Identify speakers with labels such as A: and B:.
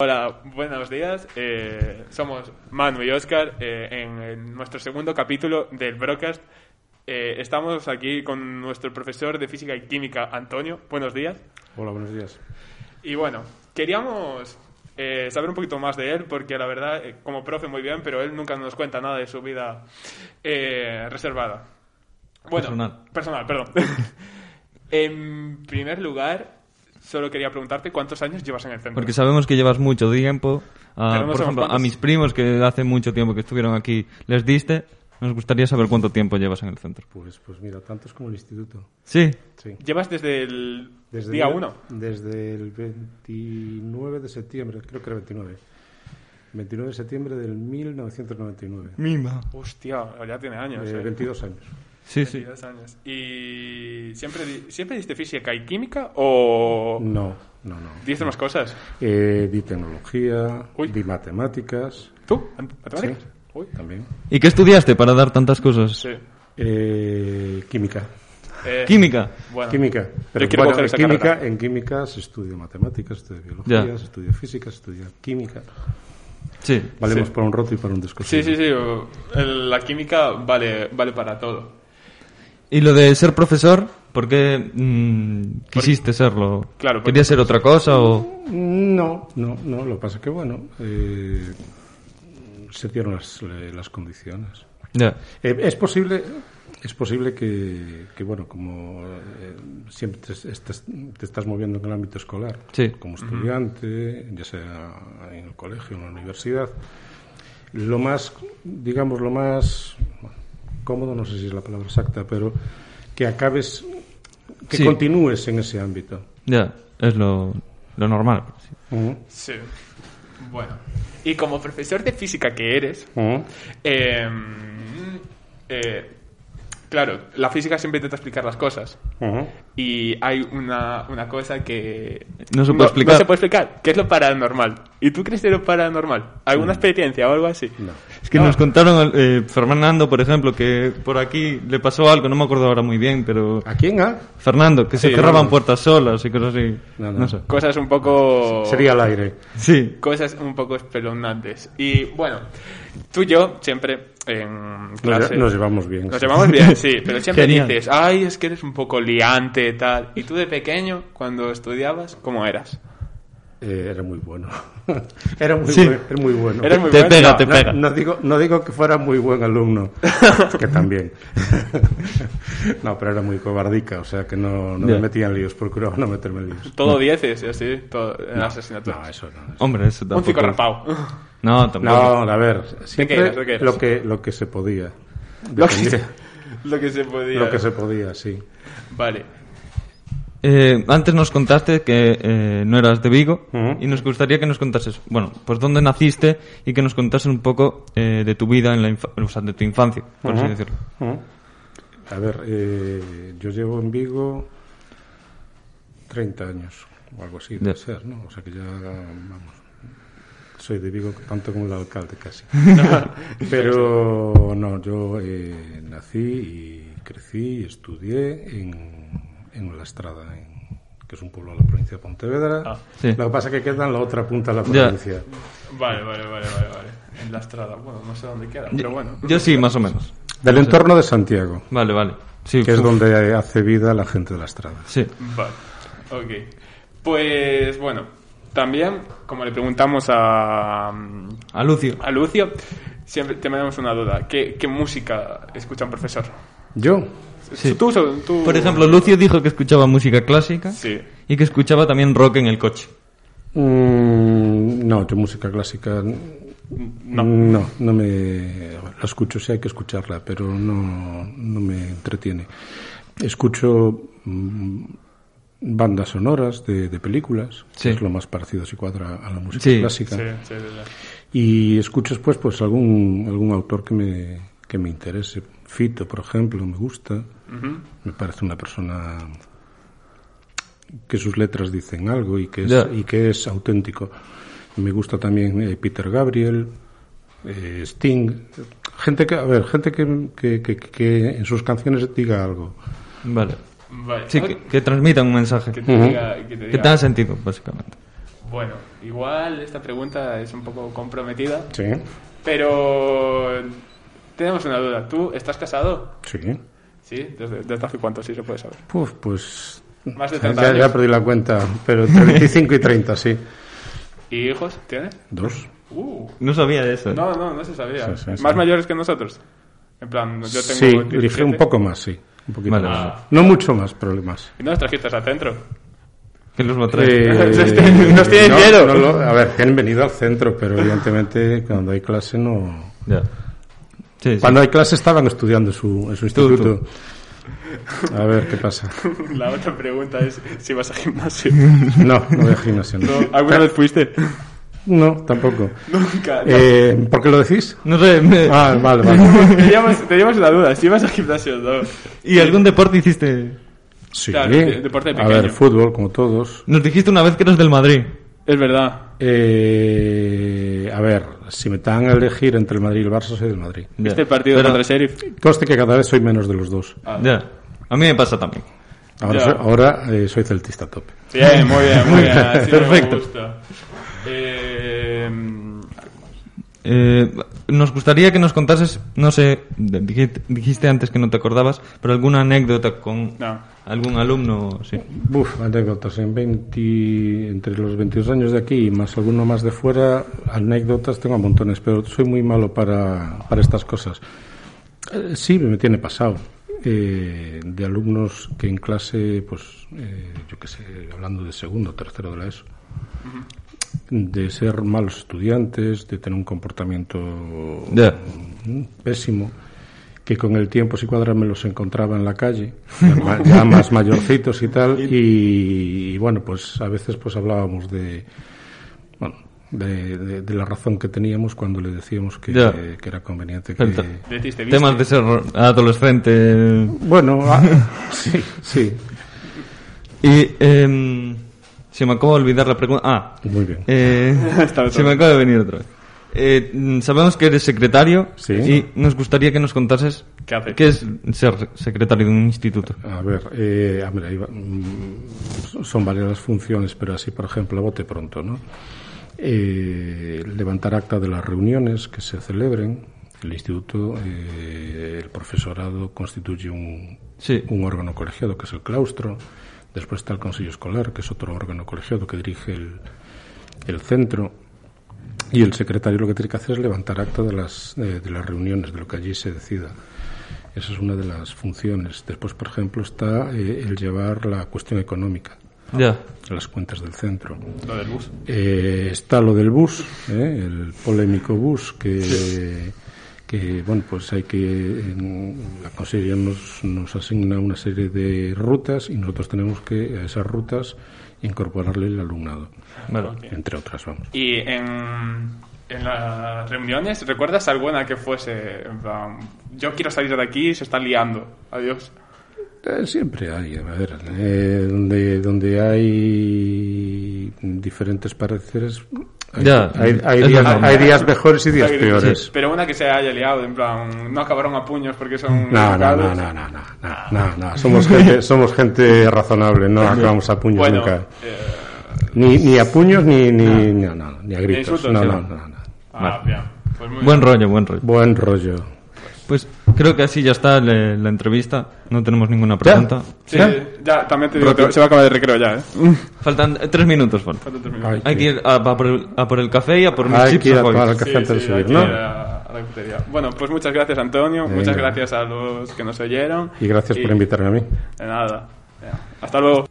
A: Hola, buenos días. Eh, somos Manu y Oscar eh, en, en nuestro segundo capítulo del broadcast. Eh, estamos aquí con nuestro profesor de física y química, Antonio. Buenos días.
B: Hola, buenos días.
A: Y bueno, queríamos eh, saber un poquito más de él, porque la verdad, eh, como profe, muy bien, pero él nunca nos cuenta nada de su vida eh, reservada. Bueno,
C: Personal.
A: Personal, perdón. en primer lugar, solo quería preguntarte cuántos años llevas en el centro.
C: Porque sabemos que llevas mucho tiempo. Ah,
A: Pero no sabemos
C: por ejemplo, a
A: cuántos.
C: mis primos que hace mucho tiempo que estuvieron aquí, les diste. Nos gustaría saber cuánto tiempo llevas en el centro.
B: Pues, pues mira, tantos como el instituto.
C: Sí,
B: Sí.
A: Llevas desde el
B: Desde
A: día
B: el-
A: 1.
B: Desde el 29 de septiembre, creo que era 29. 29 de septiembre del 1999.
C: mima.
A: Hostia, ya tiene años.
B: Eh,
A: eh.
B: 22 años.
C: Sí, sí.
A: 22 años. ¿Y siempre, di- siempre diste física y química o
B: No, no, no.
A: diste Oh. más cosas?
B: Eh, di tecnología,
A: Uy.
B: di matemáticas
A: ¿Tú? ¿Matemáticas?
B: Sí.
A: Uy.
B: también.
C: ¿Y qué estudiaste para dar tantas cosas?
A: Sí.
B: Eh, química.
A: Eh,
C: Química.
A: Bueno,
B: Química. Pero
A: quiero
B: bueno,
A: coger
B: en,
A: esa
B: química
A: carrera.
B: en química se estudia matemáticas, se estudia biología,
C: Ya.
B: se estudia física, se estudia química.
C: Sí.
B: Valemos
A: Sí.
B: para un roto y para un descosido.
A: Sí, sí, sí. o- el- La química vale, vale para todo.
C: ¿Y lo de ser profesor? ¿Por qué mm, quisiste serlo?
A: Claro, porque-
C: ¿Querías ser otra cosa o...?
B: No, no, no. Lo que pasa es que, bueno, eh, se dieron las, eh, las condiciones.
C: Ya.
B: Eh, es posible, es posible que, que, bueno, como eh, siempre te, estás- te estás moviendo en el ámbito escolar,
C: Sí.
B: como estudiante, ya sea en el colegio, en la universidad, lo más, digamos, lo más bueno, cómodo, no sé si es la palabra exacta, pero que acabes, que
C: Sí.
B: continúes en ese ámbito.
C: Ya, es lo, lo normal. Sí.
B: Ujú,
A: Sí. Bueno. Y como profesor de física que eres,
B: ujú.
A: eh, eh, claro, la física siempre intenta explicar las cosas.
B: Ujú.
A: Y hay una, una cosa que...
C: No se puede explicar.
A: No se puede explicar, que es lo paranormal. ¿Y tú crees que es lo paranormal? ¿Alguna experiencia o algo así?
B: No.
C: Es que
A: No.
C: nos contaron, eh, Fernando, por ejemplo, que por aquí le pasó algo, no me acuerdo ahora muy bien, pero...
B: ¿A quién? ah?
C: Fernando, que se
A: Sí,
C: cerraban
B: no.
C: puertas solas y cosas así.
B: No,
C: No,
B: no.
C: sé.
A: Cosas un poco...
B: Sería al aire.
C: Sí,
A: Cosas un poco espeluznantes. Y bueno, tú y yo siempre en
B: Nos,
A: clase...
B: nos llevamos bien.
A: Nos
B: sí.
A: llamamos bien, sí, pero siempre
C: Genial.
A: dices, ay, es que eres un poco liante, tal. ¿Y tú de pequeño, cuando estudiabas, cómo eras?
B: Eh, era muy bueno. era, muy
C: Sí.
B: buen- era muy bueno.
A: Eras muy
C: te
A: bueno.
C: pega,
A: No,
C: te
B: No,
C: pega.
B: no digo, no digo que fuera muy buen alumno, que también. no, pero era muy cobardica, o sea que no, no me
C: Ya.
B: metía en líos, procuraba no meterme en líos.
A: Todo dieces, y así, todo, en las
B: No,
A: asignaturas.
B: eso no. eso.
C: Hombre, eso
A: un
C: tampoco...
A: cico rapao.
C: No, tampoco.
B: No, a ver,
A: ¿De qué
B: siempre
A: eras? ¿De qué eras?
B: lo, que, lo que se podía.
A: Lo que, se,
B: Dependía-
A: lo que se podía.
B: lo que se podía, sí.
A: Vale.
C: Eh, antes nos contaste que eh, no eras de Vigo
B: Ujú.
C: y nos gustaría que nos contases, bueno, pues dónde naciste y que nos contases un poco eh, de tu vida, en la infa- o sea, de tu infancia, por así
B: Ujú.
C: decirlo.
B: Ujú. A ver, eh, yo llevo en Vigo 30 años o algo así, debe
C: Ya.
B: ser, ¿no? O sea que ya, vamos, soy de Vigo tanto como el alcalde casi. Pero no, yo eh, nací y crecí y estudié en, en La Estrada, en- que es un pueblo de la provincia de Pontevedra.
A: Ah,
C: sí.
B: Lo que pasa es que queda en la otra punta de la
C: Ya.
B: provincia.
A: Vale, vale, vale, vale, vale. En la estrada, bueno, no sé dónde queda, pero bueno. pues
C: Yo sí, más o menos.
B: Del entorno de Santiago,
C: Vale, vale. pues Sí, pues.
B: que es
C: uf,
B: donde hace vida la gente de La Estrada.
C: Sí,
A: Vale, ok. Pues bueno, también, como le preguntamos a, a
C: a Lucio.
A: Lucio, siempre tenemos una duda. ¿Qué, qué música escucha un profesor?
B: Yo,
C: Sí.
A: ¿Tú, tú-
C: Por ejemplo, Lucio dijo que escuchaba música clásica
A: Sí.
C: y que escuchaba también rock en el coche.
B: Mm, no, yo música clásica no. no, no me la escucho, sí hay que escucharla, pero no, no me entretiene. Escucho mm, bandas sonoras de, de películas,
C: Sí.
B: que es lo más parecido si cuadra a la música
C: Sí.
B: clásica.
A: Sí, sí, sí, sí.
B: Y escucho después pues algún algún autor que me que me interese. Fito, por ejemplo, me gusta.
A: Ujú.
B: Me parece una persona que sus letras dicen algo y que es,
C: Ya.
B: y que es auténtico. Me gusta también eh, Peter Gabriel, eh, Sting, gente que a ver, gente que, que- que- que en sus canciones diga algo.
C: Vale.
A: Vale.
C: Sí, que, que transmita un mensaje.
A: Que
C: Que
A: te
B: Ujú.
A: diga- que te
C: tenga
A: diga-
C: sentido, básicamente.
A: Bueno, igual esta pregunta es un poco comprometida,
B: Sí,
A: pero tenemos una duda. ¿Tú estás casado?
B: sí.
A: Sí, desde, desde hace cuánto, sí se puede saber.
B: Puf, pues.
A: Más de
B: ya,
A: 30
B: ya
A: años.
B: perdí la cuenta, pero entre 25 y 30, sí.
A: ¿Y hijos tienes?
B: Dos.
A: Uh,
C: No sabía de eso. eh,
A: no, no, no se sabía.
B: Sí, sí, sí.
A: ¿Más mayores que nosotros? En plan, yo tengo...
B: Sí,
A: 17.
B: dije un poco más, sí. Un poquito
C: Vale,
B: más.
C: vale.
B: No mucho más, problemas.
A: ¿Y no los trajiste al centro?
C: Que los va a traer.
A: Eh, Nos tienen
B: no,
A: miedo.
B: no lo- a ver, que han venido al centro, pero evidentemente cuando hay clase no.
C: Ya. Sí, sí.
B: Cuando hay clase estaban estudiando en su, en su
C: Tú,
B: instituto. A ver qué pasa.
A: La otra pregunta es si vas a gimnasio.
B: No, no voy a gimnasio. No,
A: ¿Alguna vez fuiste?
B: No, tampoco.
A: Nunca.
B: Eh, ¿Por qué lo decís?
C: No sé. me-
B: Ah, vale, vale.
A: Teníamos, teníamos la duda, si vas a gimnasio o no.
C: ¿Y algún deporte hiciste?
B: Sí,
A: Claro, de- deporte
B: a
A: pequeño.
B: ver, fútbol, como todos.
C: Nos dijiste una vez que eres del Madrid.
A: Es verdad.
B: Eh, a ver, si me dan a elegir entre el Madrid y el Barça, soy del Madrid.
C: Ya.
A: ¿Viste el este partido
C: Pero-
A: contra el Sheriff?
B: Coste que cada vez soy menos de los dos.
C: Ya. A mí me pasa también.
B: Ahora,
A: Ya.
B: soy, ahora, eh, soy celtista a tope.
A: Bien, muy bien, muy bien. Así
C: Perfecto.
A: Me gusta. Eh, mm,
C: Eh, nos gustaría que nos contases, no sé, de- dijiste, dijiste antes que no te acordabas, pero alguna anécdota con
A: No.
C: algún alumno. Sí.
B: Buf, anécdotas. En 20, entre los 22 años de aquí y más alguno más de fuera, anécdotas tengo a montones, pero soy muy malo para, para estas cosas. Eh, sí, me tiene pasado. eh, de alumnos que en clase, pues, eh, yo qué sé, hablando de segundo, tercero de la ESO, de ser malos estudiantes, de tener un comportamiento
C: Ya.
B: Mm, pésimo, que con el tiempo si cuadra me los encontraba en la calle, ya ma- ya más mayorcitos y tal, y, y bueno, pues a veces pues hablábamos de, bueno, de, de- de la razón que teníamos cuando le decíamos que,
C: Ya.
B: que era conveniente que...
C: Perfecto.
A: Deciste, ¿viste?
C: Temas de ser adolescente.
B: Bueno, ah, sí, sí,
C: Y em, se me acaba de olvidar la pregunta. Ah,
B: muy bien.
C: eh,
A: Está otra
C: se me
A: vez.
C: acaba de venir otra vez. Eh, mm, sabemos que eres secretario
B: Sí.
C: y nos gustaría que nos contases
A: ¿Qué hace?
C: es ser secretario de un instituto.
B: A ver, eh, a ver, ahí va- mm, son varias las funciones, pero así, por ejemplo, a bote pronto, ¿no? Eh, levantar acta de las reuniones que se celebren. El instituto, eh, el profesorado constituye un,
C: Sí.
B: un órgano colegiado, que es el claustro. Después está el Consejo Escolar, que es otro órgano colegiado que dirige el, el centro. Y el secretario lo que tiene que hacer es levantar acta de las, eh, de las reuniones, de lo que allí se decida. Esa es una de las funciones. Después, por ejemplo, está eh, el llevar la cuestión económica,
C: Ya.
B: las cuentas del centro.
A: Lo del bus.
B: Eh, está lo del bus, ¿eh? el polémico bus que, que, bueno, pues hay que en- la consejería nos, nos asigna una serie de rutas y nosotros tenemos que a esas rutas incorporarle el alumnado,
C: Bueno.
B: entre otras, vamos.
A: Y en, en las reuniones, ¿recuerdas alguna que fuese? en plan, yo quiero salir de aquí, se está liando. Adiós.
B: Eh, siempre hay, a ver, eh, donde, donde hay diferentes pareceres, hay,
C: Ya,
B: hay, hay
C: es
B: días,
C: normal.
B: hay días mejores y días peores.
A: Pero una que se haya liado, en plan, no acabaron a puños porque son.
B: No, no, no,
A: educados.
B: no, no, no, no, no, no. Somos gente, somos gente razonable, no acabamos a puños
A: Bueno,
B: nunca.
A: eh,
B: Ni, ni a puños ni, ni, no, no, ni a gritos.
A: insultos,
B: No,
A: sí.
B: no, no, no.
A: ah, bien. Pues muy
C: Buen rollo, buen rollo.
B: Buen rollo.
C: Pues creo que así ya está le- la entrevista. No tenemos ninguna pregunta.
A: Sí, ya, también te digo,
C: Rápido.
A: te- se va a acabar el recreo ya, ¿eh?
B: Mm.
C: Faltan eh, tres minutos. Falta.
A: ¿Cuánto termina?
B: Hay
C: Hay que
B: que,
C: ir a, a por el, a por el café y a por mis
B: hay
C: chips.
B: que ir a
C: o
B: tomar el
C: Hoyos.
B: café antes de
A: hay
B: subir,
A: que
B: ¿no?
A: ir a- a la cafetería. Bueno, pues muchas gracias, Antonio.
B: Venga.
A: Muchas gracias a los que nos oyeron.
B: Y gracias por invitarme a mí.
A: De nada. Hasta luego.